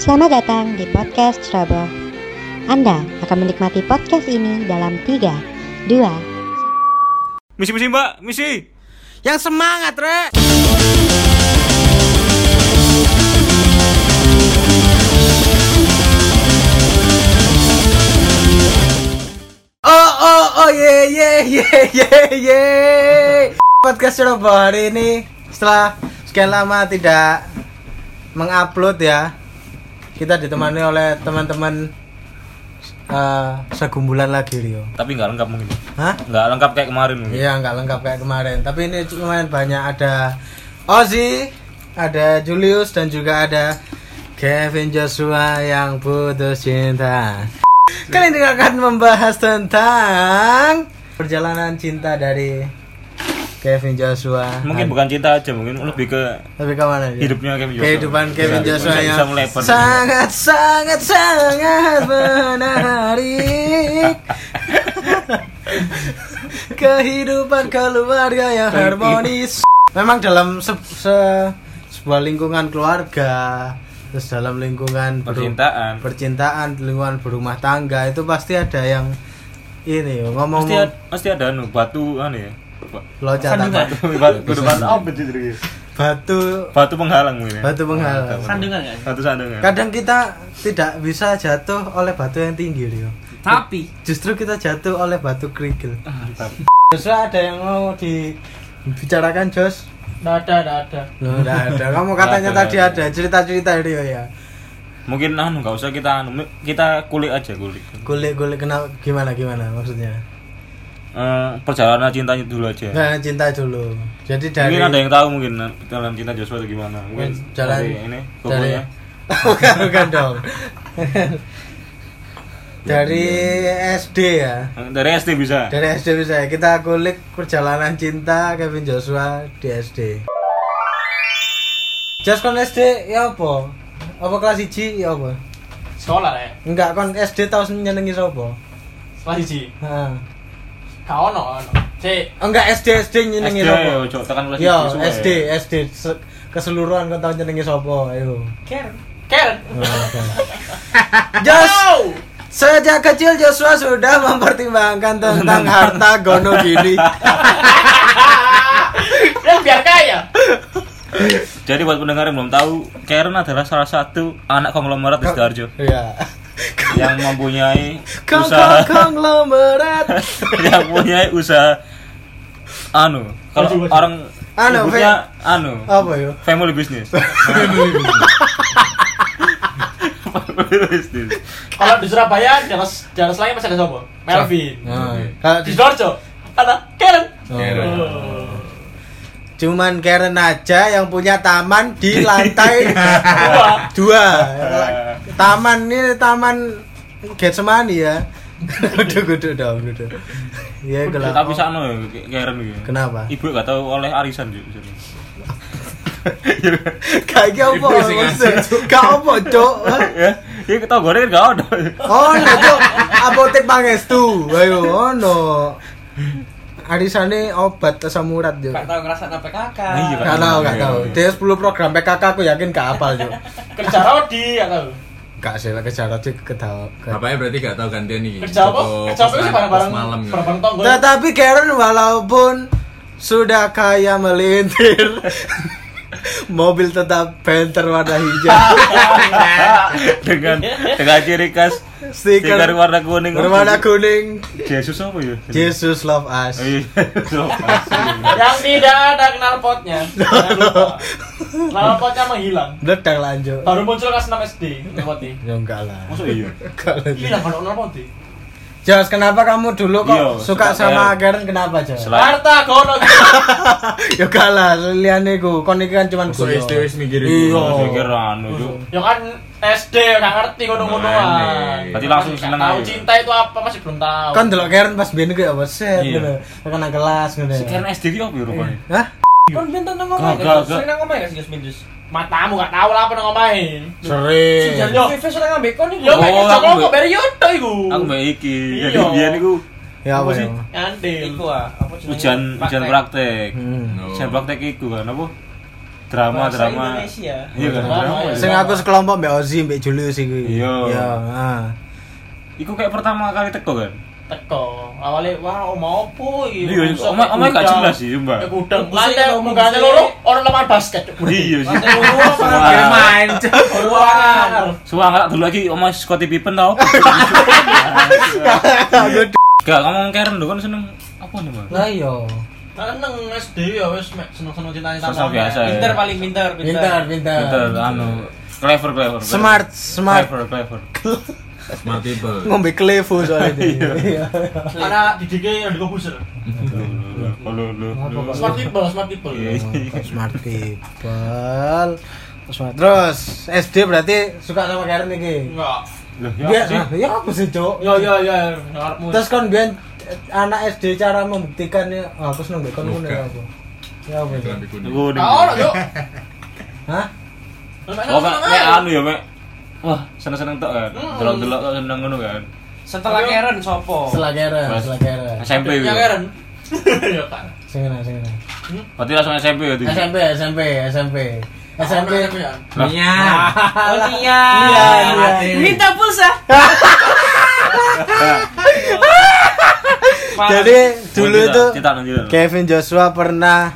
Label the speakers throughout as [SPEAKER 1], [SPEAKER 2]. [SPEAKER 1] Selamat datang di podcast Trouble. Anda akan menikmati podcast ini dalam 3, 2,
[SPEAKER 2] Misi misi mbak, misi.
[SPEAKER 3] Yang semangat, Rek. Oh, Oh, oh, oh, ye, ye, ye, ye, ye. Podcast Surabaya hari ini setelah sekian lama tidak mengupload ya. Kita ditemani oleh teman-teman eh, segumbulan lagi, Rio.
[SPEAKER 2] Tapi nggak lengkap mungkin.
[SPEAKER 3] Hah?
[SPEAKER 2] Nggak lengkap kayak kemarin mungkin.
[SPEAKER 3] Iya, nggak lengkap kayak kemarin. Tapi ini lumayan banyak ada Ozzy, ada Julius dan juga ada Kevin Joshua yang putus cinta. Kalian juga akan membahas tentang perjalanan cinta dari Kevin Joshua.
[SPEAKER 2] Mungkin bukan cinta aja, mungkin lebih ke
[SPEAKER 3] tapi kemana dia?
[SPEAKER 2] Hidupnya Kevin Joshua.
[SPEAKER 3] Iya. Kehidupan
[SPEAKER 2] Iya,
[SPEAKER 3] Kevin
[SPEAKER 2] Bisa-
[SPEAKER 3] Joshua
[SPEAKER 2] bisa-
[SPEAKER 3] yang
[SPEAKER 2] bisa melebar.
[SPEAKER 3] sangat sangat sangat menarik. Kehidupan keluarga yang harmonis. Memang dalam se- se- sebuah lingkungan keluarga, terus dalam lingkungan beru-
[SPEAKER 2] Percintaan.
[SPEAKER 3] percintaan, lingkungan berumah tangga itu pasti ada yang ini ngomong
[SPEAKER 2] Pasti ada, pasti ada anu batu anu ya. Ba-
[SPEAKER 3] loncatan
[SPEAKER 2] Batu batu kudu batu apa itu jadi?
[SPEAKER 3] batu
[SPEAKER 2] Batu penghalang mungkin. ya.
[SPEAKER 3] Batu penghalang. Kan?
[SPEAKER 4] Sandungan Kan nggak sih?
[SPEAKER 2] Batu sandungan.
[SPEAKER 3] Kadang kita tidak bisa jatuh oleh batu yang tinggi, Rio.
[SPEAKER 4] Tapi
[SPEAKER 3] Justru kita jatuh oleh batu kerikil.
[SPEAKER 2] Ah.
[SPEAKER 3] Joshua ada yang mau dibicarakan, Jos?
[SPEAKER 4] nggak ada, nggak ada.
[SPEAKER 3] Loh, nggak ada. Kamu katanya
[SPEAKER 2] Nggak ada,
[SPEAKER 3] tadi
[SPEAKER 2] nggak
[SPEAKER 3] ada cerita-cerita Rio ya.
[SPEAKER 2] Mungkin anu nggak usah kita anu kita kulik aja kulik.
[SPEAKER 3] Gulik-gulik kenal gimana gimana maksudnya?
[SPEAKER 2] Eh, perjalanan cintanya dulu aja.
[SPEAKER 3] Nah, cinta dulu. Jadi dari
[SPEAKER 2] Mungkin Ya. ada yang tahu mungkin dalam cinta Joshua itu gimana. Mungkin
[SPEAKER 3] jalan
[SPEAKER 2] dari ini
[SPEAKER 3] dari
[SPEAKER 2] kumpulnya.
[SPEAKER 3] bukan bukan dong. dari SD ya.
[SPEAKER 2] Eh, Dari SD bisa.
[SPEAKER 3] Dari SD bisa ya. kita kulik perjalanan cinta Kevin Joshua di SD. Jos kon SD ya apa? Apa kelas 1 ya apa?
[SPEAKER 4] Sekolah ya.
[SPEAKER 3] Enggak kon SD tau nyenengi sapa?
[SPEAKER 4] Sekolah siji.
[SPEAKER 3] Heeh.
[SPEAKER 4] Kau ono ono. C.
[SPEAKER 3] Oh, Enggak SD SD nyenengi
[SPEAKER 2] SD
[SPEAKER 3] sapa?
[SPEAKER 2] ya, cok tekan kelas
[SPEAKER 3] Ya,
[SPEAKER 2] SD, suwe.
[SPEAKER 3] SD SD se- keseluruhan kon tau nyenengi sapa? Ayo.
[SPEAKER 4] Karen. Karen.
[SPEAKER 3] Jos Sejak kecil Joshua sudah mempertimbangkan tentang harta gono gini.
[SPEAKER 4] Yang Eh, biar kaya.
[SPEAKER 2] Jadi buat pendengar yang belum tahu, Karen adalah salah satu anak konglomerat di Sidoarjo
[SPEAKER 3] Iya.
[SPEAKER 2] yang mempunyai
[SPEAKER 3] Kong
[SPEAKER 2] usaha
[SPEAKER 3] kong kong lemberat.
[SPEAKER 2] yang mempunyai usaha anu kalau orang
[SPEAKER 3] Anu,
[SPEAKER 2] sebutnya anu
[SPEAKER 3] Apa ya?
[SPEAKER 2] family business. family business.
[SPEAKER 4] Kalau di Surabaya jalan jalan lain masih ada siapa? Melvin.
[SPEAKER 5] Nah.
[SPEAKER 3] Kalau
[SPEAKER 4] Di
[SPEAKER 3] di-
[SPEAKER 4] Sidoarjo ada Karen.
[SPEAKER 3] Oh.
[SPEAKER 4] Oh.
[SPEAKER 3] Cuman Karen aja yang punya taman di lantai
[SPEAKER 4] Dua.
[SPEAKER 3] dua. Taman ini taman Getsemani ya. Kudu kudu dong kudu. Ya kalau
[SPEAKER 2] Tapi sakno ya Karen gitu.
[SPEAKER 3] Kenapa?
[SPEAKER 2] Ibu gak tahu oleh arisan juga.
[SPEAKER 3] Kayak apa? Gak apa, Cok.
[SPEAKER 2] ya, ya kita goreng gak ada.
[SPEAKER 3] Oh, no, Cok. Apotek Pangestu. Ayo, ono. Arisane obat asam urat, Cok.
[SPEAKER 4] Gak tahu ngerasa apa PKK.
[SPEAKER 2] Iya,
[SPEAKER 3] Ah. Gak tahu, gak tahu. Dia 10 program PKK aku yakin gak apal, Cok.
[SPEAKER 4] Kerja Rodi gak tahu.
[SPEAKER 3] Gak sih, lah kejar aja ketawa.
[SPEAKER 5] Bapaknya berarti gak tahu gantian nih.
[SPEAKER 4] Kerja apa? Kerja apa sih barang-barang
[SPEAKER 5] Iya, malam gitu.
[SPEAKER 4] barang-barang tonggol.
[SPEAKER 3] Tetapi Karen walaupun sudah kaya melintir mobil tetap banter warna hijau
[SPEAKER 2] dengan dengan ciri khas
[SPEAKER 3] stiker,
[SPEAKER 2] Stiker warna kuning.
[SPEAKER 3] warna kuning
[SPEAKER 2] Yesus apa ya?
[SPEAKER 3] Jesus love
[SPEAKER 2] Oh,
[SPEAKER 3] us
[SPEAKER 2] iya.
[SPEAKER 4] Yang tidak ada knalpotnya. Jangan lupa. Knalpotnya menghilang.
[SPEAKER 3] meledak lanjut
[SPEAKER 2] Ah.
[SPEAKER 4] Baru muncul kelas 6 SD. Knalpot nih.
[SPEAKER 3] ya enggak lah
[SPEAKER 2] Masuk iya.
[SPEAKER 3] Enggak lah.
[SPEAKER 4] Hilang kalau knalpot nih.
[SPEAKER 3] Jos kenapa kamu dulu kok
[SPEAKER 2] Iya,
[SPEAKER 3] suka,
[SPEAKER 2] suka
[SPEAKER 3] sama Karen kenapa Jos?
[SPEAKER 2] Sel-
[SPEAKER 4] Harta kono
[SPEAKER 2] gitu.
[SPEAKER 3] ya enggak lah liane ku kon iki kan cuman
[SPEAKER 5] Masuk
[SPEAKER 3] guyon.
[SPEAKER 5] SD wis mikirin.
[SPEAKER 3] Iya.
[SPEAKER 2] Terus mikir anu itu.
[SPEAKER 4] Ya kan SD nggak ngerti ngono-ngonoan.
[SPEAKER 5] Berarti
[SPEAKER 2] langsung
[SPEAKER 4] Nggak
[SPEAKER 2] seneng
[SPEAKER 4] Nah, Tahu
[SPEAKER 2] aja.
[SPEAKER 4] cinta itu apa masih belum tahu.
[SPEAKER 3] kan delok Karen pas biyen ku ya apa set
[SPEAKER 2] Iya.
[SPEAKER 3] ngono kena kelas ngono ya.
[SPEAKER 2] Sekarang SD itu apa ya rupanya?
[SPEAKER 3] Hah?
[SPEAKER 4] kan bentar nang
[SPEAKER 2] Gak, gak, gak.
[SPEAKER 4] nang ngomong gak sih Gus Mindus? Matamu gak tahu lah apa nang ngomongin.
[SPEAKER 3] Sering.
[SPEAKER 4] Yo, Vivi sudah ngambil kon Yo,
[SPEAKER 2] Oh,
[SPEAKER 4] kayak
[SPEAKER 2] aku
[SPEAKER 4] coklo kok
[SPEAKER 2] mbak-
[SPEAKER 4] beri yoto iku.
[SPEAKER 3] Eh.
[SPEAKER 2] Aku mbak Iki. Jadi
[SPEAKER 4] Iya.
[SPEAKER 2] biar niku
[SPEAKER 3] Ya apa ya?
[SPEAKER 4] Ngandil.
[SPEAKER 6] Iku ah, apa jenenge?
[SPEAKER 2] hujan hujan
[SPEAKER 6] Praktek.
[SPEAKER 2] praktek.
[SPEAKER 3] Hmm.
[SPEAKER 2] Hujan praktek iku kan apa? drama
[SPEAKER 6] Bahasa
[SPEAKER 2] drama
[SPEAKER 6] Indonesia.
[SPEAKER 2] iya kan
[SPEAKER 4] Drama,
[SPEAKER 2] drama
[SPEAKER 4] ya.
[SPEAKER 2] ya.
[SPEAKER 3] Sing aku sekelompok Mbak Ozi, Mbak Julius iku.
[SPEAKER 2] Iya.
[SPEAKER 3] Iya, ah.
[SPEAKER 2] Iku kayak pertama kali teko kan
[SPEAKER 4] teko awalnya wah oma opo iki
[SPEAKER 2] Iya,
[SPEAKER 4] Buset,
[SPEAKER 2] oma-
[SPEAKER 4] kayak
[SPEAKER 2] omanya gak
[SPEAKER 4] gudang.
[SPEAKER 2] jelas sih, Mbak.
[SPEAKER 4] Kayak gudang
[SPEAKER 6] Mesti
[SPEAKER 4] lantai
[SPEAKER 6] kalau
[SPEAKER 4] muka
[SPEAKER 6] mesti-
[SPEAKER 4] loro orang lawan basket
[SPEAKER 2] iya sih
[SPEAKER 6] Masa lu apa?
[SPEAKER 2] Wah.
[SPEAKER 3] main.
[SPEAKER 6] Orang.
[SPEAKER 2] Suang nggak dulu lagi omah Scotty Pippen tau Gak ngomong Karen dulu kan seneng Apa nih bang?
[SPEAKER 3] Lah iya.
[SPEAKER 4] Tenang SD ya wis mek seneng-seneng cinta
[SPEAKER 2] Sosok biasa ya
[SPEAKER 6] Pinter paling pinter,
[SPEAKER 3] Pintar,
[SPEAKER 6] Nah,
[SPEAKER 3] pintar.
[SPEAKER 2] Pinter,
[SPEAKER 6] gitu.
[SPEAKER 2] anu Clever, clever clever.
[SPEAKER 3] Smart, smart.
[SPEAKER 2] Clever, clever
[SPEAKER 5] Smart people.
[SPEAKER 3] Ngombe klevo soalnya dia. Iya.
[SPEAKER 4] Anak didiknya yang dikubuser
[SPEAKER 2] Iya. Lu, lu, lu, lu.
[SPEAKER 4] Smart people, smart people
[SPEAKER 2] Iya, iya.
[SPEAKER 3] Smart people. Smart. Terus SD berarti suka sama Karen iki.
[SPEAKER 4] Enggak
[SPEAKER 2] Loh, ya
[SPEAKER 3] Dia
[SPEAKER 2] apa sih?
[SPEAKER 3] ah, ya apa sih, Cok?
[SPEAKER 4] Ya ya ya ngarepmu.
[SPEAKER 3] Terus kon biyen eh, anak SD cara membuktikannya oh, aku seneng mbek kon ngono
[SPEAKER 5] Bukan.
[SPEAKER 3] ya aku. Ya apa sih?
[SPEAKER 5] Kelambi kuning.
[SPEAKER 2] Gua
[SPEAKER 4] Nah, ora yo.
[SPEAKER 3] Hah?
[SPEAKER 2] Oh, Mek, Mek, anu ya, Mek Wah, seneng-seneng tok kan Delok-delok tok seneng ngono kan
[SPEAKER 6] Setelah Karen sopo?
[SPEAKER 3] Setelah Karen,
[SPEAKER 2] Mas.
[SPEAKER 3] setelah Karen.
[SPEAKER 2] SMP
[SPEAKER 4] Ya
[SPEAKER 2] gitu
[SPEAKER 4] keren. Ya kan.
[SPEAKER 3] Sing enak, sing enak.
[SPEAKER 2] Berarti langsung SMP ya Oh, tuh
[SPEAKER 3] SMP, SMP, SMP. SMP.
[SPEAKER 4] Anak ya.
[SPEAKER 2] Lah,
[SPEAKER 6] Oh iya.
[SPEAKER 3] Iya, iya.
[SPEAKER 6] Minta pulsa.
[SPEAKER 3] Jadi dulu
[SPEAKER 2] cerita-
[SPEAKER 3] itu
[SPEAKER 2] cerita nanti dulu.
[SPEAKER 3] Kevin Joshua pernah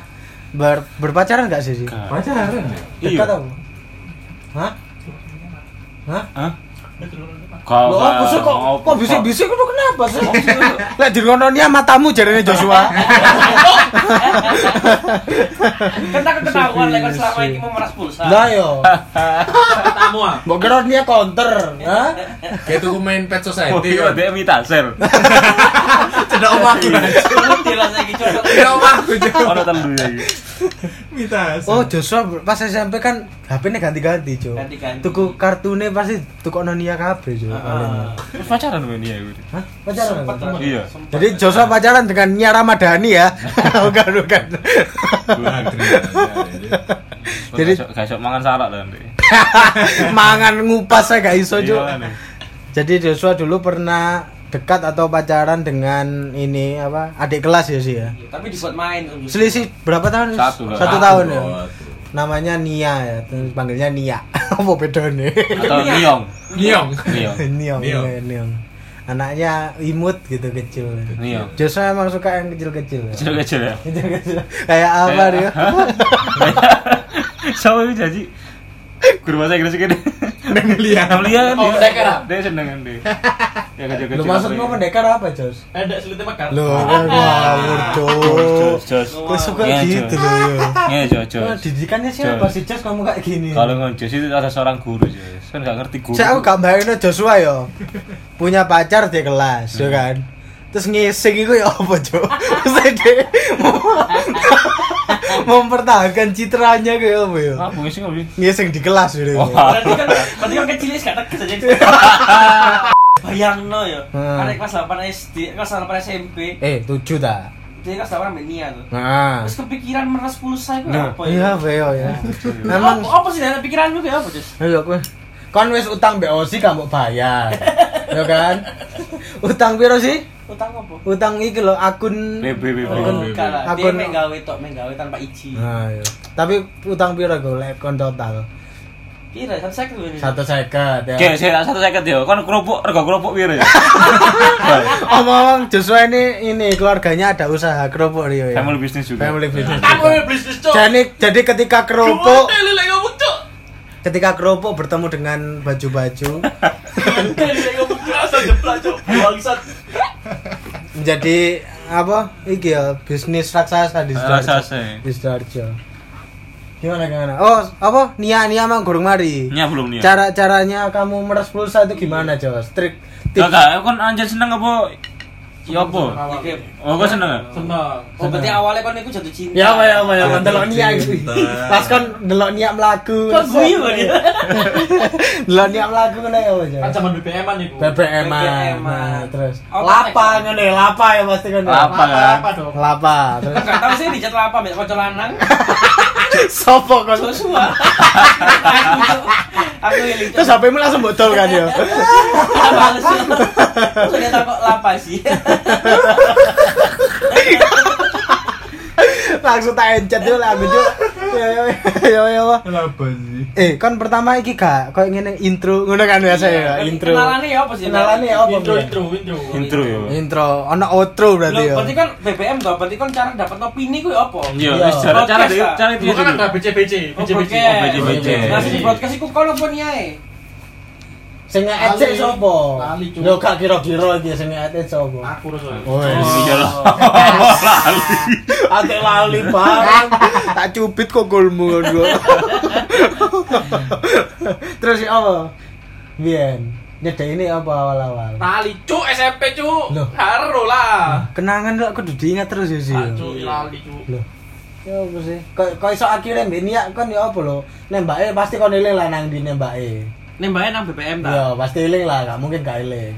[SPEAKER 3] ber- berpacaran gak sih? Ji?
[SPEAKER 2] Gak.
[SPEAKER 3] Pacaran ya?
[SPEAKER 2] Iya.
[SPEAKER 3] Dekat tau? Hah? Hah?
[SPEAKER 2] Hah?
[SPEAKER 3] Loh,
[SPEAKER 2] Kau
[SPEAKER 3] kok busuk kok? Kok bisik-bisik itu kenapa sih? Lek di ngononia matamu jarene Joshua.
[SPEAKER 6] Karena aku Kan ketahuan lekor selama ini mau meras pulsa.
[SPEAKER 3] Lah yo.
[SPEAKER 6] Tamu ah.
[SPEAKER 3] Mbok kira dia counter, hah?
[SPEAKER 5] Kayak tuku main pet
[SPEAKER 2] Oh
[SPEAKER 5] society.
[SPEAKER 2] iya, dia minta share
[SPEAKER 5] Cedak omahku.
[SPEAKER 6] Jelas lagi cocok.
[SPEAKER 5] Cedak omahku. Cok.
[SPEAKER 2] Ono telu ya iki.
[SPEAKER 3] Oh Joshua pas SMP kan HP-nya ganti-ganti, Jo.
[SPEAKER 6] Ganti-ganti.
[SPEAKER 3] Tuku kartune pasti tuku nonia kabeh, Jo. paling.
[SPEAKER 2] Terus pacaran sama dia gue.
[SPEAKER 3] Hah? Pacaran?
[SPEAKER 6] Sempet
[SPEAKER 3] apa?
[SPEAKER 6] temen.
[SPEAKER 2] Iya.
[SPEAKER 6] Sempet.
[SPEAKER 3] Jadi Joshua pacaran dengan Nia Ramadhani ya? bukan, bukan.
[SPEAKER 5] Gua agree, anjay.
[SPEAKER 2] Jadi
[SPEAKER 3] Jadi-
[SPEAKER 2] gak sok mangan sarak lah nanti.
[SPEAKER 3] Mangan ngupas saya gak iso Jo.
[SPEAKER 2] Iya, nih.
[SPEAKER 3] Jadi Joshua dulu pernah dekat atau pacaran dengan ini apa adik kelas ya sih ya.
[SPEAKER 6] Tapi dibuat main.
[SPEAKER 3] Selisih berapa tahun?
[SPEAKER 2] Satu lah.
[SPEAKER 3] Satu
[SPEAKER 5] Satu,
[SPEAKER 3] tahun ya.
[SPEAKER 5] satu.
[SPEAKER 3] Namanya Nia ya, terus panggilnya Nia. Apa bedanya?
[SPEAKER 2] Atau Niong.
[SPEAKER 5] Nyong.
[SPEAKER 2] Niong.
[SPEAKER 3] Niong,
[SPEAKER 5] Niong.
[SPEAKER 3] iya, Niong. Anaknya imut gitu kecil.
[SPEAKER 2] Niong.
[SPEAKER 3] Joshua emang suka yang kecil-kecil. ya?
[SPEAKER 2] Kecil-kecil ya.
[SPEAKER 3] Kecil-kecil. Kayak apa
[SPEAKER 2] Kayak-
[SPEAKER 3] dia?
[SPEAKER 2] Sama itu jadi guru bahasa Inggris gede.
[SPEAKER 5] Melia.
[SPEAKER 2] Namlia kan
[SPEAKER 4] Oh,
[SPEAKER 2] dia.
[SPEAKER 4] pendekar, ah?
[SPEAKER 2] Dia seneng kan dia. Ya kecil-kecil.
[SPEAKER 3] Lu maksudmu pendekar apa, Jos?
[SPEAKER 4] Ada selitnya mekar.
[SPEAKER 3] Lu ngawur,
[SPEAKER 2] Jos,
[SPEAKER 3] Jos.
[SPEAKER 2] jos.
[SPEAKER 3] Oh, Kok suka
[SPEAKER 2] Iya,
[SPEAKER 3] gitu
[SPEAKER 2] Jos.
[SPEAKER 3] loh. yo.
[SPEAKER 2] Iya, jos,
[SPEAKER 3] Nah,
[SPEAKER 2] jos.
[SPEAKER 3] didikannya siapa
[SPEAKER 2] Jos.
[SPEAKER 3] sih Jos kamu kayak gini?
[SPEAKER 2] Kalau ngejos itu ada seorang guru, jos. Kan gak ngerti guru.
[SPEAKER 3] Saya aku gak bayangin Joshua yo. Punya pacar di kelas, yo
[SPEAKER 2] Hmm.
[SPEAKER 3] kan. Terus ngising itu ya apa, Jo? Saya de- mau mempertahankan citranya kayak apa yo?
[SPEAKER 2] Apa sih ngopi?
[SPEAKER 3] Ngising di kelas gitu. yo.
[SPEAKER 2] Wah.
[SPEAKER 6] Berarti kan berarti kan kecilnya gak tegas aja. Bayangno ya.
[SPEAKER 3] Hmm.
[SPEAKER 6] Ada kelas 8 SD, kelas 8 SMP,
[SPEAKER 3] Eh, tujuh ta?
[SPEAKER 6] dia kelas 8 sampe Nia tuh.
[SPEAKER 3] Nah.
[SPEAKER 6] Terus kepikiran meras pulsa itu
[SPEAKER 2] Nah,
[SPEAKER 6] apa
[SPEAKER 3] Iya, apa yo ya.
[SPEAKER 6] Emang
[SPEAKER 3] Emang
[SPEAKER 6] apa sih dalam pikiranmu kayak apa, Jus?
[SPEAKER 3] Ayo kowe. Kon wis utang mbek Osi gak mbok bayar. ya kan? Utang piro sih?
[SPEAKER 6] Utang apa?
[SPEAKER 3] Utang iki lho akun
[SPEAKER 2] BB BB.
[SPEAKER 6] Oh, enggak lah. Dia
[SPEAKER 3] Akun-
[SPEAKER 6] main gawe tok, main gawe tanpa izin.
[SPEAKER 3] iya. Nah, iya. Tapi utang piro gue lek kon total?
[SPEAKER 6] Kira satu second dulu ini.
[SPEAKER 3] Satu seket ya.
[SPEAKER 2] Oke, saya satu seket ya. Kan kerupuk, harga kerupuk piro ya?
[SPEAKER 3] Omong-omong Joshua ini ini keluarganya ada usaha kerupuk Rio ya.
[SPEAKER 2] Family business juga.
[SPEAKER 3] Family business.
[SPEAKER 4] Aku yang Eh, bisnis cok.
[SPEAKER 3] Jadi jadi ketika kerupuk
[SPEAKER 4] Kamu lagi kamu cok.
[SPEAKER 3] ketika kerupuk bertemu dengan baju-baju
[SPEAKER 4] Lagi kamu berasa jeplak cok. Bangsat.
[SPEAKER 3] menjadi apa? Iki ya bisnis raksasa di Sidoarjo.
[SPEAKER 2] Raksasa.
[SPEAKER 3] Di Sidoarjo. Gimana gimana? Oh, apa? Nia Nia mang gorong mari.
[SPEAKER 2] Ini belum nih. Cara
[SPEAKER 3] Cara-caranya kamu meres pulsa itu gimana, Jos? Trik tips.
[SPEAKER 2] Enggak, kan anjir seneng apa? Ya apa?
[SPEAKER 6] Oke.
[SPEAKER 2] Oh, kok seneng ya?
[SPEAKER 4] Senang.
[SPEAKER 6] Oh, berarti awalnya kan aku jatuh cinta.
[SPEAKER 3] Ya apa ya apa ya apa delok niat iki.
[SPEAKER 5] Cinta.
[SPEAKER 3] Pas kon delok niat mlaku.
[SPEAKER 6] Kok guyu kok dia?
[SPEAKER 3] Delok niat mlaku kena ya apa ya?
[SPEAKER 4] Kan zaman BBM-an nih.
[SPEAKER 3] BBM
[SPEAKER 6] BBM-an.
[SPEAKER 3] nah, terus.
[SPEAKER 6] Oh,
[SPEAKER 3] Lapa
[SPEAKER 6] kontak.
[SPEAKER 3] ngene, lapa ya pasti kan.
[SPEAKER 2] Lapa kan?
[SPEAKER 4] Apa dong?
[SPEAKER 3] Lapa. Terus
[SPEAKER 6] Enggak tahu sih dijat apa mbak kocok lanang.
[SPEAKER 3] sopo kon?
[SPEAKER 6] Joshua. Aku eling.
[SPEAKER 3] Terus HP-mu langsung botol kan ya.
[SPEAKER 6] Aku males. Sudah tak kok lapa sih.
[SPEAKER 3] Langsung tak encet yo lah aku yo. Ya ya ya ya wah.
[SPEAKER 5] Kenapa sih?
[SPEAKER 3] Eh, kan pertama iki gak koyo ngene intro ngono kan biasa ya, intro.
[SPEAKER 6] Kenalane ya apa sih?
[SPEAKER 3] Kenalane ya apa?
[SPEAKER 4] Intro, intro, intro.
[SPEAKER 2] intro ya. yo
[SPEAKER 3] Intro, ono outro
[SPEAKER 6] Loh,
[SPEAKER 3] berarti ya.
[SPEAKER 6] berarti kan BBM toh, berarti kan cara dapat opini ku ya apa?
[SPEAKER 2] iya
[SPEAKER 3] Iya.
[SPEAKER 2] wis, cara cara
[SPEAKER 6] Podcast,
[SPEAKER 2] cara dia
[SPEAKER 4] Bukan ada
[SPEAKER 2] dulu
[SPEAKER 4] BC-BC,
[SPEAKER 6] Oh,
[SPEAKER 4] BC-BC.
[SPEAKER 6] podcast.
[SPEAKER 2] Iya, Oh, BC.
[SPEAKER 6] Nah, sing di podcast iku kono pun yae.
[SPEAKER 7] Sing ngecek
[SPEAKER 4] Ali.
[SPEAKER 7] sapa?
[SPEAKER 4] Ali, Cuk.
[SPEAKER 7] Yo gak kira-kira iki sing ngecek sapa?
[SPEAKER 4] Aku rasanya.
[SPEAKER 2] iya lah
[SPEAKER 7] Ate lali bareng.
[SPEAKER 3] tak cubit kok golmu kan gua.
[SPEAKER 7] Terus ya apa? Bien. Nyedek ini apa awal-awal?
[SPEAKER 4] Lali, cuk SMP cuk.
[SPEAKER 3] Loh.
[SPEAKER 4] Haro lah.
[SPEAKER 3] Kenangan kok kudu diingat terus ya sih.
[SPEAKER 4] Ah, Cuk lali cuk.
[SPEAKER 3] Loh,
[SPEAKER 7] Ya apa sih? Kok kok iso akhire mbek niat kan ya apa lho? Nembake pasti kon eling lah nang di nembake.
[SPEAKER 6] Nembaknya nang BBM
[SPEAKER 3] Iya.
[SPEAKER 6] ta.
[SPEAKER 7] Ya pasti eling lah, gak mungkin gak eling.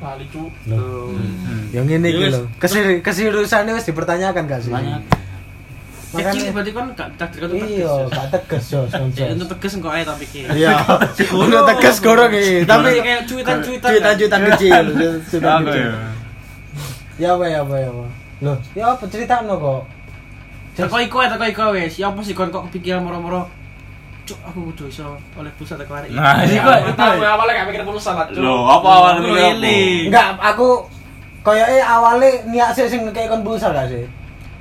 [SPEAKER 4] Lali cuk.
[SPEAKER 7] Loh.
[SPEAKER 2] Ya,
[SPEAKER 3] yang ini iki lho. Kesir keseriusannya wis dipertanyakan gak sih?
[SPEAKER 2] Banyak.
[SPEAKER 6] Kecil
[SPEAKER 7] Makanya
[SPEAKER 6] berarti kan gak tak terkut
[SPEAKER 7] iya, gak tegas yo
[SPEAKER 6] Ya,
[SPEAKER 7] soncos.
[SPEAKER 6] untuk tegas engkau aja tapi
[SPEAKER 3] Iya. Ono tegas gorong iki,
[SPEAKER 6] Tapi
[SPEAKER 3] tapi
[SPEAKER 6] kayak cuitan-cuitan. kan?
[SPEAKER 3] cuitan-cuitan kecil, cuitan
[SPEAKER 2] Aku
[SPEAKER 3] kecil.
[SPEAKER 2] ya.
[SPEAKER 7] Ya apa ya apa ya apa. Loh, ya apa ceritano kok?
[SPEAKER 6] Teko iku ae, teko iku wis. Ya apa sih kon kok kepikiran moro-moro cuk aku kudu iso oleh pulsa teko arek.
[SPEAKER 2] Nah, ini kok
[SPEAKER 4] Aku tahu
[SPEAKER 6] ya.
[SPEAKER 4] awalnya gak mikir pulsa lah cuk.
[SPEAKER 2] Loh, apa awal
[SPEAKER 6] Lu
[SPEAKER 2] mikir apa?
[SPEAKER 6] eling.
[SPEAKER 7] Enggak, aku koyoke awalnya niat sih sing ngekei kon pulsa gak sih?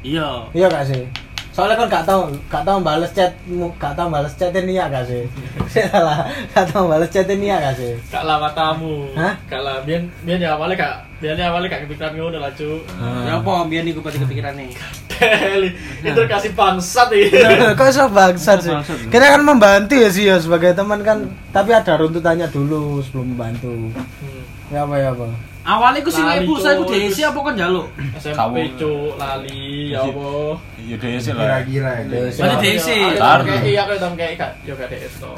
[SPEAKER 6] Iya.
[SPEAKER 7] Iya gak sih? Soalnya kan gak tau, gak tau bales chatmu, gak tau bales chatnya Nia gak sih? Salah, gak tau bales chatnya Nia gak sih?
[SPEAKER 4] Gak lah matamu.
[SPEAKER 7] Hah?
[SPEAKER 4] Gak lah biyen biyen ya awalnya gak biyen ya awalnya gak kepikiran ngono lah cuk.
[SPEAKER 6] Ya apa mbiyen iku berarti kepikirane.
[SPEAKER 4] Deli, interogasi bangsat iya. iki.
[SPEAKER 3] Kok iso bangsat sih?
[SPEAKER 2] Bangsat.
[SPEAKER 3] Kita kan membantu ya sih ya sebagai teman kan, tapi ada runtutannya dulu sebelum membantu.
[SPEAKER 4] Hmm.
[SPEAKER 3] Ya apa ya apa.
[SPEAKER 6] Awalnya iku sing
[SPEAKER 4] Lali,
[SPEAKER 6] oleh pulsa iku
[SPEAKER 4] Cuk.
[SPEAKER 6] diisi apa kon njaluk?
[SPEAKER 2] Kamu.
[SPEAKER 4] SMP cuk lali ya apa.
[SPEAKER 2] Iya deh sih lah.
[SPEAKER 5] Kira-kira
[SPEAKER 3] Iya.
[SPEAKER 5] ya.
[SPEAKER 6] Berarti diisi.
[SPEAKER 2] Tar.
[SPEAKER 4] Iya aku tam kayak gak yo gak DS to.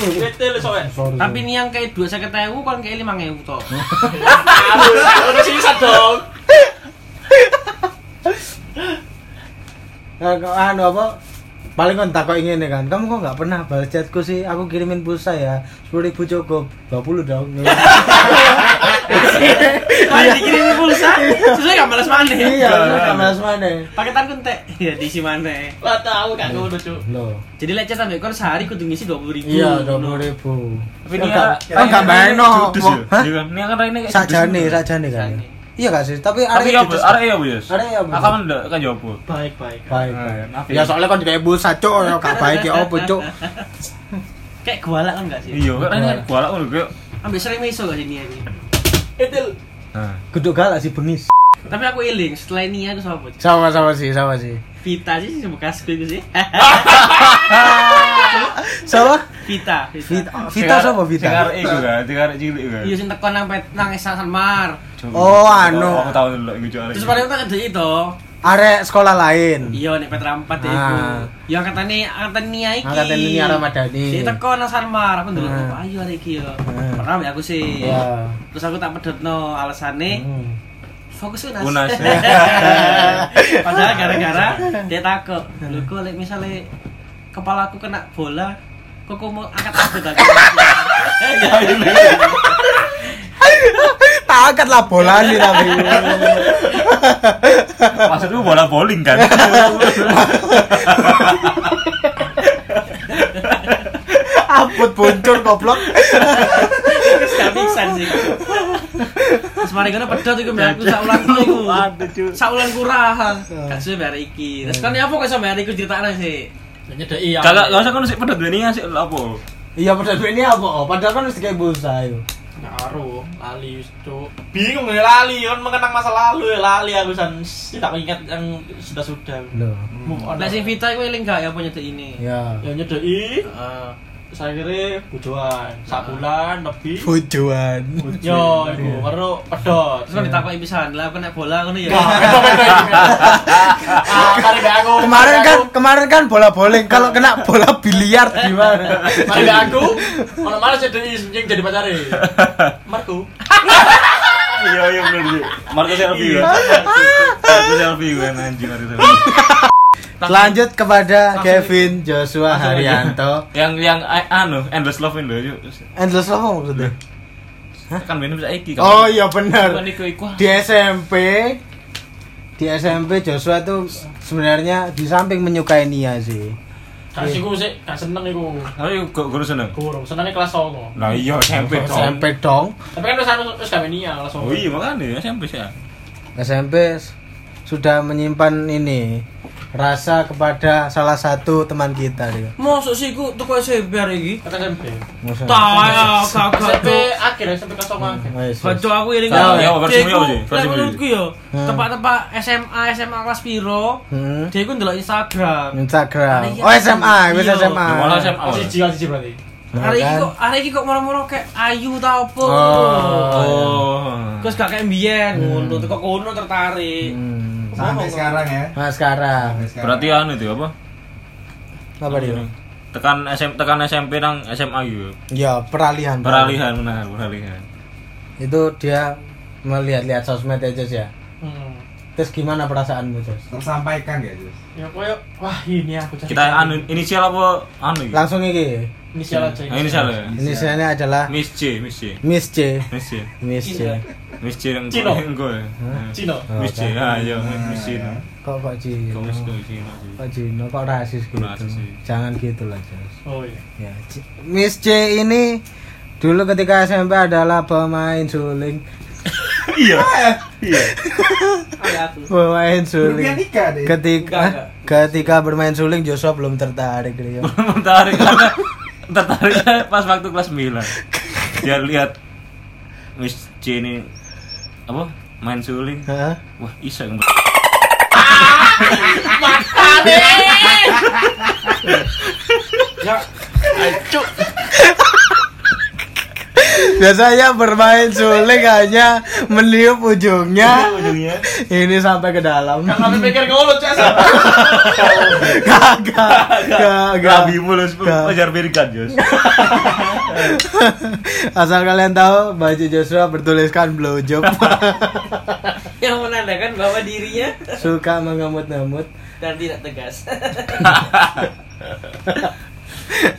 [SPEAKER 4] Itu lu soalnya.
[SPEAKER 7] Sorry.
[SPEAKER 6] Tapi niang kayak 250.000 kon kayak 5.000 to.
[SPEAKER 4] Aduh, udah sisa dong.
[SPEAKER 3] Eh, kok anu apa? Paling kan tak kok ingin ya kan. Kamu kok nggak pernah balas chatku sih? Aku kirimin pulsa ya. Sepuluh ribu cukup. Dua puluh dong.
[SPEAKER 6] Lah dikirimi pulsa, sesuai gak balas maneh.
[SPEAKER 7] Iya, gak balas mana?
[SPEAKER 6] Paketan kontek. Ya diisi maneh.
[SPEAKER 4] Lah tahu gak ngono cuk.
[SPEAKER 7] Loh,
[SPEAKER 6] Jadi lecet sampe kon sehari kudu ngisi 20.000.
[SPEAKER 7] iya dua puluh ribu.
[SPEAKER 2] Tapi dia
[SPEAKER 3] Kan nggak main no.
[SPEAKER 2] Judes ya?
[SPEAKER 3] Hah?
[SPEAKER 2] Iya kan? Ini kan Raine kayak
[SPEAKER 3] Sajane,
[SPEAKER 2] judes.
[SPEAKER 3] sajane kan. Iya gak sih? Tapi
[SPEAKER 2] Tapi
[SPEAKER 3] arek
[SPEAKER 2] ya
[SPEAKER 3] judes-
[SPEAKER 2] bos, arek ya bos.
[SPEAKER 7] Arek ya, Bu.
[SPEAKER 2] Aku kan ndak kan jawab. Bu.
[SPEAKER 4] Baik baik.
[SPEAKER 7] Baik.
[SPEAKER 2] Eh, apa
[SPEAKER 3] Ya soalnya kan kayak pulsa cok, ya gak baik ya apa cok.
[SPEAKER 6] Kayak gualak kan gak sih?
[SPEAKER 2] Iya, kan ini kan kualak ngono kayak.
[SPEAKER 6] Ambil sering iso gak sini aku.
[SPEAKER 7] Eh,
[SPEAKER 4] Itu
[SPEAKER 2] Nah,
[SPEAKER 3] Geduk galak sih bengis.
[SPEAKER 6] Tapi aku iling, setelah ini aku sama bocah.
[SPEAKER 3] Sama-sama sih, sama sih.
[SPEAKER 6] Vita sih sama kasku itu sih.
[SPEAKER 3] Sama?
[SPEAKER 6] Vita, Vita.
[SPEAKER 3] Vita, Vita sama
[SPEAKER 2] Sing
[SPEAKER 3] Vita?
[SPEAKER 2] arek iku kan, sing arek cilik kan.
[SPEAKER 6] Iya sing tekan nang pet- nang San Mar.
[SPEAKER 2] Coba.
[SPEAKER 3] Oh, anu.
[SPEAKER 2] Aku tahu dulu iku cuk
[SPEAKER 3] Oh,
[SPEAKER 2] arek.
[SPEAKER 6] Terus paling tak gede itu.
[SPEAKER 3] Arek sekolah lain.
[SPEAKER 6] Iya nek Petrampat ya
[SPEAKER 3] Ah.
[SPEAKER 6] iku. Ya katane angkatan Nia iki.
[SPEAKER 3] Angkatan Nia Ramadhani.
[SPEAKER 6] Sing teko nang San Mar, aku ndelok
[SPEAKER 3] Ah.
[SPEAKER 6] kok ayo arek iki ya.
[SPEAKER 3] Ah.
[SPEAKER 6] Pernah ya aku sih.
[SPEAKER 3] Iya.
[SPEAKER 6] Terus aku tak pedotno alasane
[SPEAKER 3] Hmm.
[SPEAKER 6] fokus unas.
[SPEAKER 2] Unas.
[SPEAKER 6] Padahal gara-gara dia takut. Lho kok lek misale kepalaku kena bola, kok kok mau angkat aku Eh, tak.
[SPEAKER 3] Tak angkat lah bola nih tapi.
[SPEAKER 2] Maksudku bola bowling kan.
[SPEAKER 3] Abut bocor goblok.
[SPEAKER 6] Terus gak bisa sih. Terus mari kena pedot iku mbak aku sak ulang iku. Sak ulang kurang. Gak suwe bare iki. Terus kan ya apa kok iso bare iku critakne sih.
[SPEAKER 4] nyedeki ya.
[SPEAKER 2] Kalau enggak usah kan sik pedot ini sik apa?
[SPEAKER 7] Iya padahal duit ini apa? Oh, Padahal kan mesti kayak pulsa yo.
[SPEAKER 4] ngaruh lali wis, cuk. Bingung ya lali kan mengenang masa lalu ya lali aku san tidak ingat yang sudah-sudah.
[SPEAKER 7] Loh.
[SPEAKER 4] Move on.
[SPEAKER 6] Nek sing Vita iku eling gak ya punya tuh ini.
[SPEAKER 7] Ya.
[SPEAKER 4] Ya nyedeki
[SPEAKER 6] Heeh.
[SPEAKER 4] saya kira bujuan sabulan lebih
[SPEAKER 3] Bojoan.
[SPEAKER 4] Yo, ibu, karo pedot.
[SPEAKER 6] Terus kan ditakoki pisan, lah aku nek bola ngono ya.
[SPEAKER 4] Gak, pedot, pedot, pedot. Ah, tarik gak aku.
[SPEAKER 3] Kemarin
[SPEAKER 4] tarik
[SPEAKER 3] kan
[SPEAKER 4] aku.
[SPEAKER 3] kemarin kan bola bowling kalau kena bola biliar gimana?
[SPEAKER 4] Mari gak aku, mana mana saya jadi yang jadi pacari. Marku,
[SPEAKER 2] Iya iya bener sih. Marco selfie kan. Marco selfie kan anjing Marco selfie.
[SPEAKER 3] Lanjut kepada Kevin Joshua Haryanto.
[SPEAKER 2] Yang yang a- anu endless love ini loh. yuk.
[SPEAKER 3] Endless apa maksudnya?
[SPEAKER 2] Kan minum saiki.
[SPEAKER 3] Oh iya benar.
[SPEAKER 2] Kan iku iku.
[SPEAKER 3] Di SMP di SMP Joshua tuh sebenarnya di samping menyukai Nia sih.
[SPEAKER 4] Kasih gue sih, gak seneng iku.
[SPEAKER 2] Tapi kok guru seneng?
[SPEAKER 4] Gurung, senengnya kelas songo.
[SPEAKER 2] Lah iya SMP dong.
[SPEAKER 3] SMP dong.
[SPEAKER 4] Tapi kan terus anu terus kami nia kelas
[SPEAKER 2] Oh
[SPEAKER 4] songo.
[SPEAKER 2] iya makanya SMP sih. ya.
[SPEAKER 3] SMP s- sudah menyimpan ini rasa kepada salah satu teman kita dia.
[SPEAKER 6] Mosok sih ku tuku SMP hari iki.
[SPEAKER 4] Kita SMP.
[SPEAKER 6] Tah, kagak
[SPEAKER 4] SMP
[SPEAKER 6] tuh.
[SPEAKER 4] akhir ya, SMP kelas songo akhir.
[SPEAKER 6] Baca aku ini
[SPEAKER 2] Tahu, ya, versimu apa sih? Versimu.
[SPEAKER 6] menurutku ya,
[SPEAKER 3] Hmm.
[SPEAKER 6] tempat-tempat SMA, SMA kelas piro,
[SPEAKER 3] Hmm.
[SPEAKER 6] dia ku ndelok Instagram.
[SPEAKER 3] Instagram. Oh SMA, wis
[SPEAKER 6] Iya.
[SPEAKER 3] SMA.
[SPEAKER 2] Ya, Malah SMA.
[SPEAKER 4] Oh, siji siji berarti.
[SPEAKER 3] Nah,
[SPEAKER 6] Hari iki
[SPEAKER 3] kan?
[SPEAKER 6] kok, hari iki kok moro-moro kayak ayu tau apa.
[SPEAKER 3] Oh.
[SPEAKER 2] Oh.
[SPEAKER 6] Terus gak kayak mbiyen ngono, tuh kok ngono tertarik.
[SPEAKER 3] Hmm.
[SPEAKER 5] Sampai sekarang ya.
[SPEAKER 3] Nah sekarang
[SPEAKER 5] Sampai sekarang.
[SPEAKER 2] Berarti anu itu apa?
[SPEAKER 3] apa dia?
[SPEAKER 2] Tekan SM, tekan SMP nang SMA gitu.
[SPEAKER 3] Ya peralihan.
[SPEAKER 2] Peralihan benar, peralihan.
[SPEAKER 3] Itu dia melihat-lihat sosmed aja sih ya.
[SPEAKER 4] Hmm.
[SPEAKER 3] Terus gimana perasaanmu Jos?
[SPEAKER 5] tersampaikan gak Jus?
[SPEAKER 4] Ya koyo wah ini aku cari.
[SPEAKER 2] Kita anu inisial apa anu gitu?
[SPEAKER 3] Langsung iki.
[SPEAKER 4] inisial aja.
[SPEAKER 2] Nah, inisial ya.
[SPEAKER 3] Inisialnya adalah
[SPEAKER 2] Miss C, Miss C.
[SPEAKER 3] Miss C.
[SPEAKER 2] Miss C.
[SPEAKER 3] Miss C.
[SPEAKER 2] Miss C yang
[SPEAKER 4] Cino.
[SPEAKER 2] gue.
[SPEAKER 4] Cino.
[SPEAKER 2] Miss C. Ah, iya, Miss C.
[SPEAKER 3] Kok kok Ci?
[SPEAKER 2] Kamu Miss Cino sih.
[SPEAKER 3] Kok Cino kok rasis gitu?
[SPEAKER 2] Rasis iya. sih.
[SPEAKER 3] Jangan gitu lah Jos.
[SPEAKER 4] Oh iya.
[SPEAKER 3] Ya, C- Miss C ini dulu ketika SMP adalah pemain suling,
[SPEAKER 2] Iya. Iya.
[SPEAKER 6] Kayak aku.
[SPEAKER 3] pemain
[SPEAKER 5] Dunia
[SPEAKER 3] suling.
[SPEAKER 5] nikah deh.
[SPEAKER 6] Enggak,
[SPEAKER 3] Ketika ah, ketika bermain suling Joshua belum tertarik dia.
[SPEAKER 2] tertarik karena tertarik pas waktu kelas 9 dia lihat Miss C ini apa main suling
[SPEAKER 3] Hah?
[SPEAKER 2] wah isa yang
[SPEAKER 3] Biasanya bermain suling hanya meniup ujungnya
[SPEAKER 2] ujungnya
[SPEAKER 3] ini sampai ke dalam.
[SPEAKER 4] Kami pikir ngono cek.
[SPEAKER 3] Kagak, kagak.
[SPEAKER 2] rabi mulus pajar berikan jos
[SPEAKER 3] Asal kalian tahu baju Joshua bertuliskan blowjob.
[SPEAKER 6] Yang menandakan bahwa dirinya
[SPEAKER 3] Suka mengemut-ngemut.
[SPEAKER 6] dan tidak tegas.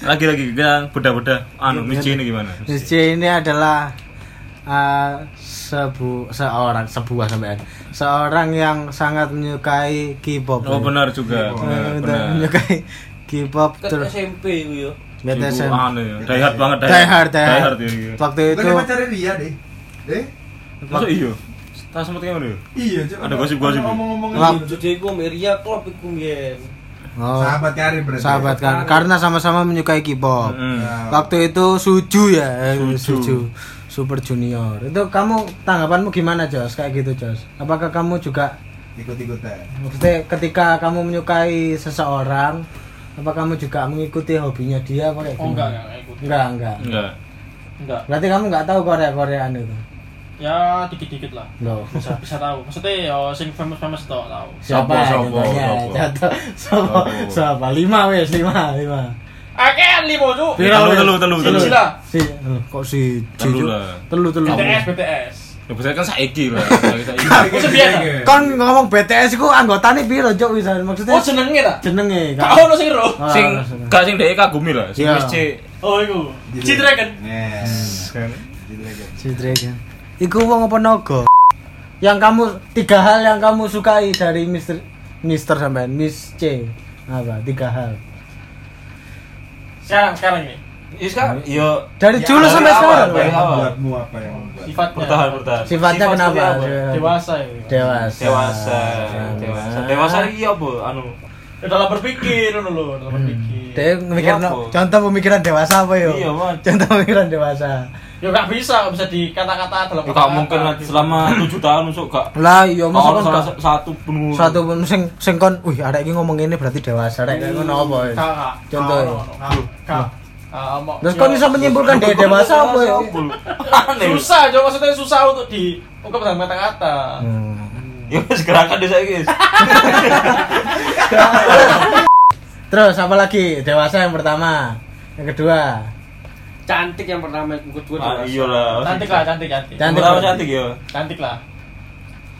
[SPEAKER 2] lagi lagi kita beda-beda anu Miss C ini gimana
[SPEAKER 3] Miss C ini adalah eh, sebu seorang sebuah sampean seorang yang sangat menyukai K-pop.
[SPEAKER 2] oh benar juga
[SPEAKER 3] Eh,
[SPEAKER 2] benar
[SPEAKER 3] benar,
[SPEAKER 2] benar
[SPEAKER 3] menyukai K-pop
[SPEAKER 6] Ke
[SPEAKER 3] terus
[SPEAKER 6] SMP ku yo.
[SPEAKER 3] Lihat
[SPEAKER 2] Ibu
[SPEAKER 3] SM.
[SPEAKER 2] anu ya die hard banget
[SPEAKER 3] Die hard, die
[SPEAKER 2] Die
[SPEAKER 3] hard.
[SPEAKER 2] hard, iya.
[SPEAKER 3] Waktu
[SPEAKER 5] Lu
[SPEAKER 3] itu
[SPEAKER 5] kan pacarnya dia deh. Eh?
[SPEAKER 2] Masuk iyo. iya? Tas semutnya ngono yo.
[SPEAKER 5] Iya, coba.
[SPEAKER 2] Ada gosip-gosip.
[SPEAKER 5] Ngomong-ngomong
[SPEAKER 3] Lap.
[SPEAKER 5] ini.
[SPEAKER 6] Jadi ku Meria klop iku mbiyen.
[SPEAKER 3] oh,
[SPEAKER 5] Sahabat karir berarti. Ya,
[SPEAKER 3] sahabat kan karena sama-sama menyukai K-pop.
[SPEAKER 4] Hmm.
[SPEAKER 2] Heeh.
[SPEAKER 3] Waktu itu Suju ya, eh,
[SPEAKER 2] Suju.
[SPEAKER 3] Suju. Super Junior. Itu kamu tanggapanmu gimana, Jos? Kayak gitu, Jos. Apakah kamu juga
[SPEAKER 5] ikut-ikutan.
[SPEAKER 3] maksudnya ketika kamu menyukai seseorang, apa kamu juga mengikuti hobinya dia apa kayak
[SPEAKER 4] Oh enggak
[SPEAKER 3] gimana?
[SPEAKER 4] enggak enggak ikut.
[SPEAKER 3] Enggak, enggak.
[SPEAKER 2] Enggak.
[SPEAKER 4] Enggak.
[SPEAKER 3] Berarti kamu enggak tahu Korea-Koreaan itu.
[SPEAKER 4] Ya dikit-dikit lah.
[SPEAKER 3] Loh.
[SPEAKER 4] Bisa bisa tahu. Maksudnya ya sing famous-famous tok tahu.
[SPEAKER 2] Sopo, sopo,
[SPEAKER 3] contohnya?
[SPEAKER 2] sopo.
[SPEAKER 3] Contoh, sopo,
[SPEAKER 2] Sopo.
[SPEAKER 3] sopo. Lima wes, lima, lima.
[SPEAKER 4] Oke, limo cuk.
[SPEAKER 3] Piro,
[SPEAKER 2] Eh, Telu,
[SPEAKER 3] wes?
[SPEAKER 2] telu, telu, telu.
[SPEAKER 3] Siji.
[SPEAKER 4] Sila.
[SPEAKER 3] Si, eh, kok si
[SPEAKER 2] Telu
[SPEAKER 3] Ciju?
[SPEAKER 2] lah.
[SPEAKER 3] Telu, telu.
[SPEAKER 4] BTS BTS.
[SPEAKER 2] Ya bisa kan saiki lah. Saiki.
[SPEAKER 4] Wis biasa.
[SPEAKER 3] Kon Kan ngomong BTS iku anggotane piro, Jok? Wis maksudnya
[SPEAKER 4] Oh jenenge ta?
[SPEAKER 3] jenenge
[SPEAKER 4] Gak
[SPEAKER 3] Kak.
[SPEAKER 4] ono sing ro.
[SPEAKER 3] Ah,
[SPEAKER 2] Sing
[SPEAKER 3] seneng.
[SPEAKER 2] gak sing dhek kagumi lah. Sing
[SPEAKER 3] Iya.
[SPEAKER 2] Miss C
[SPEAKER 4] Oh iku. G-Dragon.
[SPEAKER 5] Yes.
[SPEAKER 2] kan.
[SPEAKER 5] G-Dragon.
[SPEAKER 3] Si Dragon. Iku wong apa naga? Yang kamu tiga hal yang kamu sukai dari Mister Mister sampean Miss C. Apa? Tiga hal.
[SPEAKER 4] Sekarang sekarang ini.
[SPEAKER 6] Wis kan
[SPEAKER 2] Iya,
[SPEAKER 6] yo
[SPEAKER 3] Dari
[SPEAKER 5] Ya,
[SPEAKER 3] dulu
[SPEAKER 5] dari
[SPEAKER 3] sampai
[SPEAKER 2] awal,
[SPEAKER 3] sekarang.
[SPEAKER 5] Apa yang
[SPEAKER 2] Apa?
[SPEAKER 5] membuatmu apa yang membuat?
[SPEAKER 4] Sifatnya.
[SPEAKER 2] Bertahan, bertahan.
[SPEAKER 3] Sifatnya
[SPEAKER 2] Sifat
[SPEAKER 3] kenapa?
[SPEAKER 2] seperti apa?
[SPEAKER 4] Dewasa ya.
[SPEAKER 3] Dewasa.
[SPEAKER 2] Dewasa. Ah, Dewasa. Dewasa iki apa anu?
[SPEAKER 4] Ya, Dalam berpikir ngono lho,
[SPEAKER 3] Hmm.
[SPEAKER 4] dalam berpikir.
[SPEAKER 3] Dia mikir
[SPEAKER 2] Iya,
[SPEAKER 3] no-
[SPEAKER 2] apa?
[SPEAKER 3] contoh pemikiran dewasa apa yo?
[SPEAKER 2] Iya, Mas.
[SPEAKER 3] Contoh pemikiran dewasa.
[SPEAKER 4] Ya gak bisa, gak bisa dikata-kata dalam
[SPEAKER 2] Gak mungkin lah selama 7 tahun usuk gak
[SPEAKER 3] Lah iya
[SPEAKER 2] gak
[SPEAKER 3] masa
[SPEAKER 2] ono
[SPEAKER 3] kon
[SPEAKER 2] salah
[SPEAKER 3] gak-
[SPEAKER 2] satu pun
[SPEAKER 3] satu pun sing sing kon wih arek iki ngomong ini berarti dewasa arek iki ngono apa ya?
[SPEAKER 4] Kakak.
[SPEAKER 3] Contoh.
[SPEAKER 4] Kakak. Kakak.
[SPEAKER 3] Terus kon bisa menyimpulkan dia dewasa apa ya?
[SPEAKER 2] aneh
[SPEAKER 4] susah Jo maksudnya susah untuk di ungkap dalam kata-kata
[SPEAKER 3] Hmm.
[SPEAKER 2] ya wis gerakan desa iki
[SPEAKER 3] Terus apa lagi? Dewasa yang pertama, yang kedua.
[SPEAKER 6] cantik yang pertama ikut gue
[SPEAKER 2] Ah, iya lah
[SPEAKER 4] cantik lah cantik cantik
[SPEAKER 3] Dan-
[SPEAKER 2] Pertama cantik ya
[SPEAKER 4] cantik lah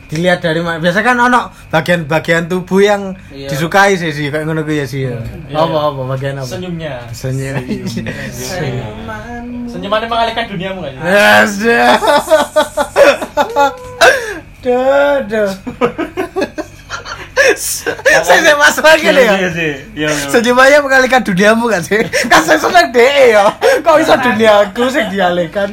[SPEAKER 3] dilihat dari mana biasa kan ono bagian-bagian tubuh yang
[SPEAKER 6] Iya.
[SPEAKER 3] disukai sih sih kayak ngono ku ya sih ya.
[SPEAKER 2] Hmm.
[SPEAKER 4] Iya,
[SPEAKER 3] apa
[SPEAKER 4] iya.
[SPEAKER 3] apa bagian apa
[SPEAKER 4] senyumnya
[SPEAKER 3] senyum
[SPEAKER 5] ya?
[SPEAKER 4] senyumannya mengalihkan duniamu kan Jo?
[SPEAKER 3] yes duh duh Saya saya masuk lagi nih ya.
[SPEAKER 2] Iya sih. Iya. iya.
[SPEAKER 3] Senyum aja mengalikan duniamu kan sih. Kan saya seneng deh ya. Kok bisa duniaku sih dialihkan.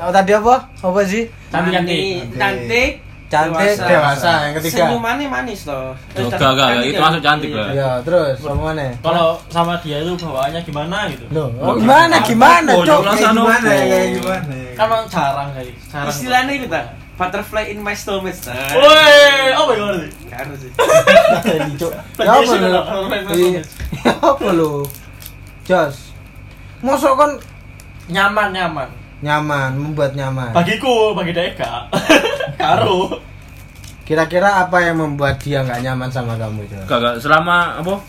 [SPEAKER 3] Oh, tadi apa? Apa sih?
[SPEAKER 6] Cantik cantik. Cantik.
[SPEAKER 3] Cantik,
[SPEAKER 6] Dewasa.
[SPEAKER 3] dewasa, yang ketiga.
[SPEAKER 6] Senyumannya manis loh.
[SPEAKER 2] Tuh, enggak, enggak, itu masuk cantik
[SPEAKER 6] Iya.
[SPEAKER 2] lah.
[SPEAKER 3] Ya, terus sama mana?
[SPEAKER 4] Kalau sama dia itu bawaannya gimana gitu?
[SPEAKER 3] Loh, oh, gimana gimana,
[SPEAKER 2] Oh,
[SPEAKER 3] Cok?
[SPEAKER 2] jelas
[SPEAKER 5] Kayak
[SPEAKER 2] anu.
[SPEAKER 3] Iya,
[SPEAKER 5] gimana ya, kayak gimana ya.
[SPEAKER 4] Kan orang jarang kali. Jarang.
[SPEAKER 6] Istilahnya itu tak. Butterfly in my stomach. Ah.
[SPEAKER 4] Woi, apa ya, yang ngerti?
[SPEAKER 6] Gak harus sih.
[SPEAKER 3] Ini, Cok. Ya apa
[SPEAKER 4] Plagiation
[SPEAKER 3] lo?
[SPEAKER 4] lah, orang-orang
[SPEAKER 3] Iya.
[SPEAKER 4] plagiation.
[SPEAKER 3] Ya apa lo? Jos. Mosok kon
[SPEAKER 4] Nyaman, nyaman.
[SPEAKER 3] nyaman, membuat nyaman.
[SPEAKER 4] Bagiku, bagi dia gak. Karo.
[SPEAKER 3] Kira-kira apa yang membuat dia nggak nyaman sama kamu, Jos?
[SPEAKER 2] Enggak, enggak. Selama apa?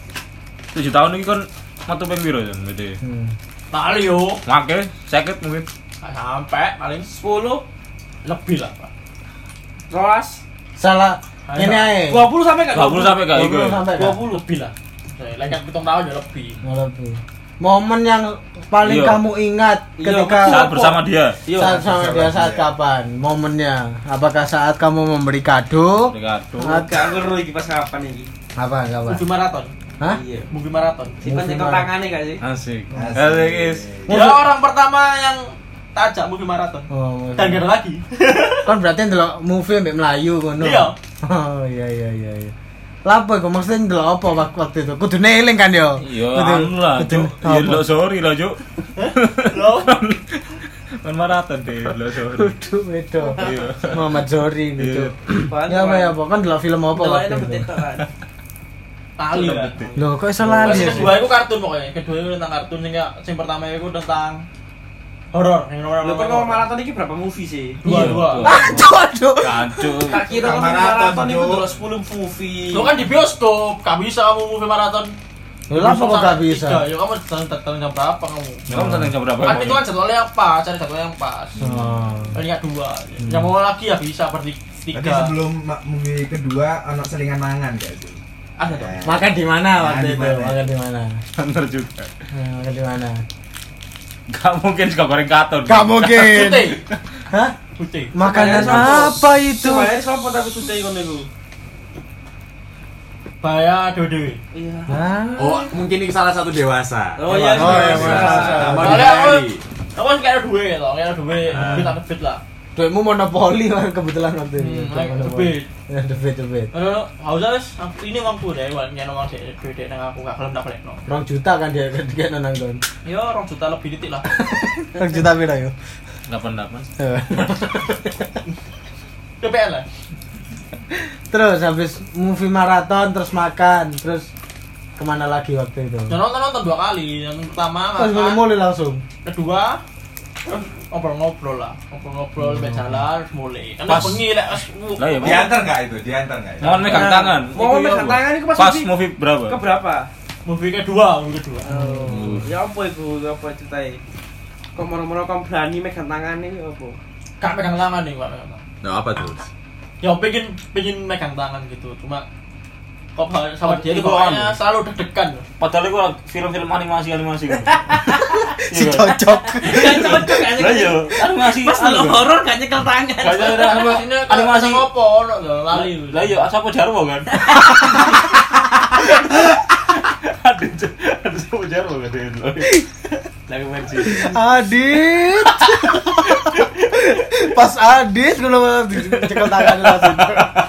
[SPEAKER 2] 7 tahun ini kan metu ping piro Jan, berarti?
[SPEAKER 3] Hmm.
[SPEAKER 4] Paling yo,
[SPEAKER 2] Ngake 50 mungkin.
[SPEAKER 4] gak sampai paling 10 lebih lah, Pak.
[SPEAKER 6] Rolas.
[SPEAKER 3] Salah
[SPEAKER 4] Ayo.
[SPEAKER 3] ini ae.
[SPEAKER 4] 20 sampai gak?
[SPEAKER 2] 20 sampai gak iku. ya?
[SPEAKER 3] 20 sampai gak?
[SPEAKER 4] 20 lebih lah. Saya lengkap pitung tahun ya lebih.
[SPEAKER 3] Lebih. Momen yang
[SPEAKER 2] Iya.
[SPEAKER 3] paling kamu ingat
[SPEAKER 4] Iya,
[SPEAKER 2] Saat iya,
[SPEAKER 3] ketika
[SPEAKER 4] betul.
[SPEAKER 2] bersama dia.
[SPEAKER 3] saat sama
[SPEAKER 5] betul.
[SPEAKER 3] dia saat kapan? Momennya. Apakah saat kamu memberi kado?
[SPEAKER 2] Aduh.
[SPEAKER 3] At-
[SPEAKER 6] Gak ngeru iki pas kapan iki.
[SPEAKER 3] Apa apa?
[SPEAKER 4] Movie maraton.
[SPEAKER 3] Hah?
[SPEAKER 6] Iya.
[SPEAKER 4] Movie maraton.
[SPEAKER 6] Simpen
[SPEAKER 3] Movie
[SPEAKER 6] cekok
[SPEAKER 3] malam.
[SPEAKER 6] tangannya gak sih?
[SPEAKER 2] Asik.
[SPEAKER 5] Asik.
[SPEAKER 2] Asik is.
[SPEAKER 4] Dia Ya, orang pertama yang tajak movie maraton.
[SPEAKER 3] Oh,
[SPEAKER 4] Dan gak ada lagi.
[SPEAKER 3] kan berarti ndelok movie mbek Melayu ngono.
[SPEAKER 4] Iya.
[SPEAKER 3] Oh, iya iya iya iya. Lapo iku maksudnya ndelok apa waktu, waktu itu? Kudu neling kan yo.
[SPEAKER 2] Iya,
[SPEAKER 3] Kudu-
[SPEAKER 2] anu lah,
[SPEAKER 3] kudu-
[SPEAKER 2] Cuk.
[SPEAKER 3] apa?
[SPEAKER 2] Ya lo sorry lah, Cuk.
[SPEAKER 4] Loh.
[SPEAKER 2] Kan maraton deh, lo sorry.
[SPEAKER 3] Kudu wedo.
[SPEAKER 2] Iya.
[SPEAKER 3] Muhammad Zohri gitu.
[SPEAKER 6] Apaan,
[SPEAKER 3] Ya apa
[SPEAKER 6] apaan?
[SPEAKER 3] ya apa kan ndelok film apa
[SPEAKER 6] Deloknya
[SPEAKER 3] waktu
[SPEAKER 6] nang
[SPEAKER 3] itu?
[SPEAKER 6] betetok kan.
[SPEAKER 4] Lali lah.
[SPEAKER 3] Loh, kok iso
[SPEAKER 4] Pas
[SPEAKER 3] lali ya?
[SPEAKER 4] kedua itu kartun pokoknya. Kedua itu tentang kartun sing sing pertama itu tentang horor. Yang nomor
[SPEAKER 6] Lu kan ngomong maraton iki berapa movie sih?
[SPEAKER 4] Dua, dua.
[SPEAKER 3] Aduh, aduh.
[SPEAKER 2] Aduh.
[SPEAKER 6] Tak kira
[SPEAKER 5] Bukan
[SPEAKER 6] movie
[SPEAKER 5] maraton,
[SPEAKER 6] maraton iku
[SPEAKER 5] Cuk.
[SPEAKER 6] delok 10 movie.
[SPEAKER 4] Lu kan di bioskop, gak bisa kamu movie maraton.
[SPEAKER 3] Loh, apa kok gak bisa?
[SPEAKER 4] Tiga, Ya kamu datang datang jam berapa kamu?
[SPEAKER 2] Kamu tentang jam berapa?
[SPEAKER 4] Kan
[SPEAKER 2] emang?
[SPEAKER 4] itu kan jadwalnya apa? Cari jadwal yang pas.
[SPEAKER 3] Oh.
[SPEAKER 4] Paling gak dua. Yang mau lagi ya bisa
[SPEAKER 5] Tadi
[SPEAKER 4] bertiga.
[SPEAKER 5] sebelum ma- movie kedua, anak selingan mangan gak sih?
[SPEAKER 4] Ada dong.
[SPEAKER 5] Eh,
[SPEAKER 3] Makan di mana waktu
[SPEAKER 5] Makan di
[SPEAKER 3] itu?
[SPEAKER 5] mana?
[SPEAKER 3] Makan di mana?
[SPEAKER 2] Bener juga.
[SPEAKER 3] Eh, Makan di mana?
[SPEAKER 2] Gak mungkin suka goreng katon.
[SPEAKER 3] Gak mungkin.
[SPEAKER 4] Putih,
[SPEAKER 3] Hah?
[SPEAKER 4] putih.
[SPEAKER 3] Makanan
[SPEAKER 6] Semuanya
[SPEAKER 3] apa itu?
[SPEAKER 6] Semuanya sopo tapi sudah iku niku.
[SPEAKER 4] Baya Dode.
[SPEAKER 6] Iya.
[SPEAKER 3] Hah?
[SPEAKER 8] Oh, mungkin ini salah satu dewasa.
[SPEAKER 6] Oh iya,
[SPEAKER 3] Oh, iya,
[SPEAKER 6] iya.
[SPEAKER 3] masa.
[SPEAKER 8] Sama
[SPEAKER 4] Soalnya aku,
[SPEAKER 8] Dihari.
[SPEAKER 4] aku kan kayak duit gitu, kayak duit, duit tak duit lah.
[SPEAKER 3] Duitmu monopoli kan kebetulan waktu itu.
[SPEAKER 4] Hmm, like
[SPEAKER 3] Monopoli.
[SPEAKER 4] debit.
[SPEAKER 3] Ya, debit, debit.
[SPEAKER 4] Aduh, aku harus, ini uangku deh, uangnya nomor si duit deh, nang aku gak kelem tak boleh no.
[SPEAKER 3] Rong juta kan dia ketika nonang kon.
[SPEAKER 4] Yo, orang juta lebih titik lah.
[SPEAKER 3] Rong juta pira yo?
[SPEAKER 2] 88.
[SPEAKER 3] Iya.
[SPEAKER 4] DPL lah.
[SPEAKER 3] terus habis movie maraton terus makan terus kemana lagi waktu itu?
[SPEAKER 4] Ya nonton nonton dua kali, yang pertama
[SPEAKER 3] Terus baru
[SPEAKER 4] makan,
[SPEAKER 3] mulai langsung.
[SPEAKER 4] kedua terus ngobrol-ngobrol lah, ngobrol-ngobrol, sampai jalan, terus mulai. Kan
[SPEAKER 2] Pas.
[SPEAKER 4] bengi lah, terus, uh,
[SPEAKER 2] Lah ya, Bang.
[SPEAKER 5] Diantar gak itu? Diantar gak itu?
[SPEAKER 2] Mohon megang tangan.
[SPEAKER 6] Mau
[SPEAKER 2] Iku ya,
[SPEAKER 6] megang
[SPEAKER 2] Bu.
[SPEAKER 6] tangan iku pas
[SPEAKER 2] Pas
[SPEAKER 6] movie
[SPEAKER 2] movie berapa?
[SPEAKER 6] ke berapa?
[SPEAKER 4] movie kedua, movie kedua.
[SPEAKER 6] Oh, ya apa iku? Ya apa ceritai? Kok moro-moro kok berani megang tangan iki apa?
[SPEAKER 4] Kak pegang tangan nih, Pak. pegang tangan.
[SPEAKER 8] Nah, apa tuh?
[SPEAKER 4] Ya pengen pengen megang tangan gitu, cuma kok sama dia itu
[SPEAKER 2] Itu kan.
[SPEAKER 4] pokoknya selalu deg-degan.
[SPEAKER 2] Padahal itu film-film animasi animasi.
[SPEAKER 3] Si cocok.
[SPEAKER 6] Gak cocok gak sih?
[SPEAKER 2] Lah ya, animasi.
[SPEAKER 6] Pas
[SPEAKER 2] anu,
[SPEAKER 6] lo
[SPEAKER 2] kan.
[SPEAKER 6] horor gak nyekel tangan.
[SPEAKER 2] Gak ada
[SPEAKER 4] Ini
[SPEAKER 2] ada-
[SPEAKER 4] animasi
[SPEAKER 2] animasi.
[SPEAKER 4] ngopo ono lho, lali.
[SPEAKER 2] Lah ya, siapa Jarwo kan? Aduh, Cuk. aduh siapa Jarwo kan dia dulu. Lagi main sih.
[SPEAKER 3] Adit. Pas Adit kalau cekal tangan langsung.